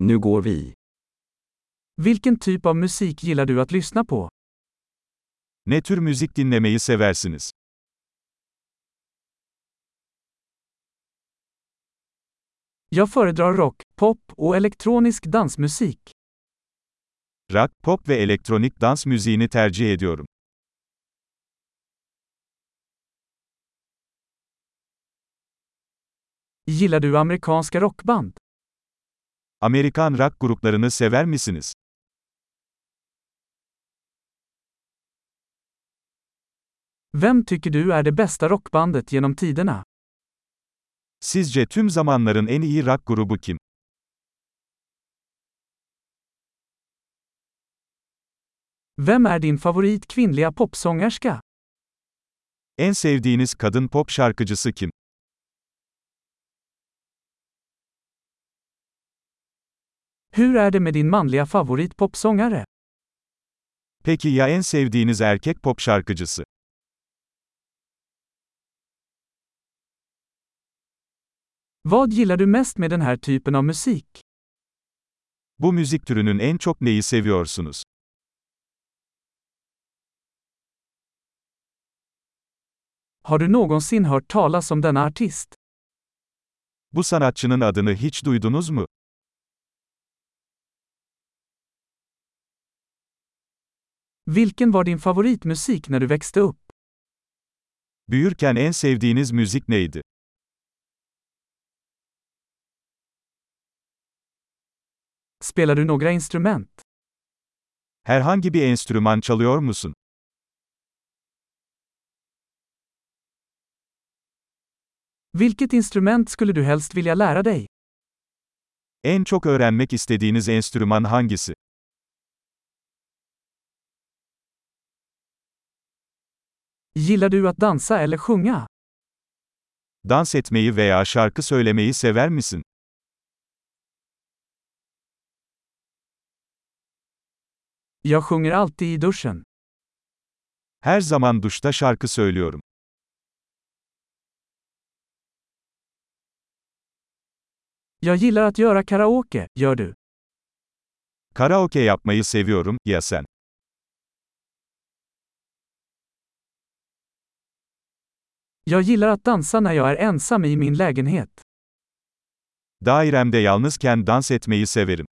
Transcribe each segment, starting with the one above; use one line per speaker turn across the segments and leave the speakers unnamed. Nu går vi.
Vilken typ av musik gillar du att lyssna på?
Ne tür müzik dinlemeyi seversiniz?
Jag föredrar rock, pop och elektronisk dansmusik.
Rock, pop ve elektronik dans müziğini tercih ediyorum.
Gillar du amerikanska rockband?
Amerikan rock gruplarını sever misiniz?
Vem tycker du är det bästa rockbandet genom tiderna?
Sizce tüm zamanların en iyi rock grubu kim?
Vem är din favorit kvinnliga popsångerska?
En sevdiğiniz kadın pop şarkıcısı kim?
Hur är det med din manliga favorit popsångare?
Peki ya en sevdiğiniz erkek pop şarkıcısı?
Vad gillar du mest med den här typen av musik?
Bu müzik türünün en çok neyi seviyorsunuz?
Har du någonsin hört talas om denna artist?
Bu sanatçının adını hiç duydunuz mu?
Vilken var din favoritmusik när du växte upp?
Büyürken en sevdiğiniz müzik neydi?
Spelar du några instrument?
Herhangi bir enstrüman çalıyor musun?
Vilket instrument skulle du helst vilja lära dig?
En çok öğrenmek istediğiniz enstrüman hangisi?
Gillar du att dansa eller sjunga?
Dans etmeyi veya şarkı söylemeyi sever misin?
Jag sjunger alltid i duschen.
Her zaman duşta şarkı söylüyorum.
Jag gillar att göra karaoke, gör du?
Karaoke yapmayı seviyorum, ya sen?
Jag gillar att dansa när jag är ensam i min lägenhet.
Dairemde yalnızken dans etmeyi severim.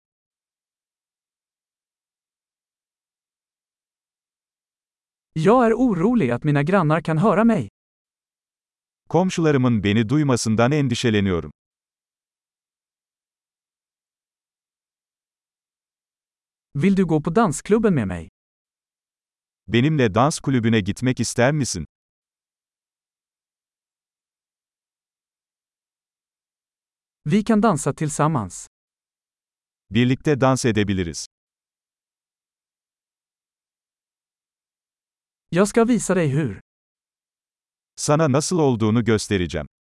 Jag är orolig att mina grannar kan höra mig.
Komşularımın beni duymasından endişeleniyorum.
Vill du gå på dansklubben med mig?
Benimle dans kulübüne gitmek ister misin?
Vi kan dansa tillsammans.
Birlikte dans edebiliriz.
Jag ska visa dig hur.
Sana nasıl olduğunu göstereceğim.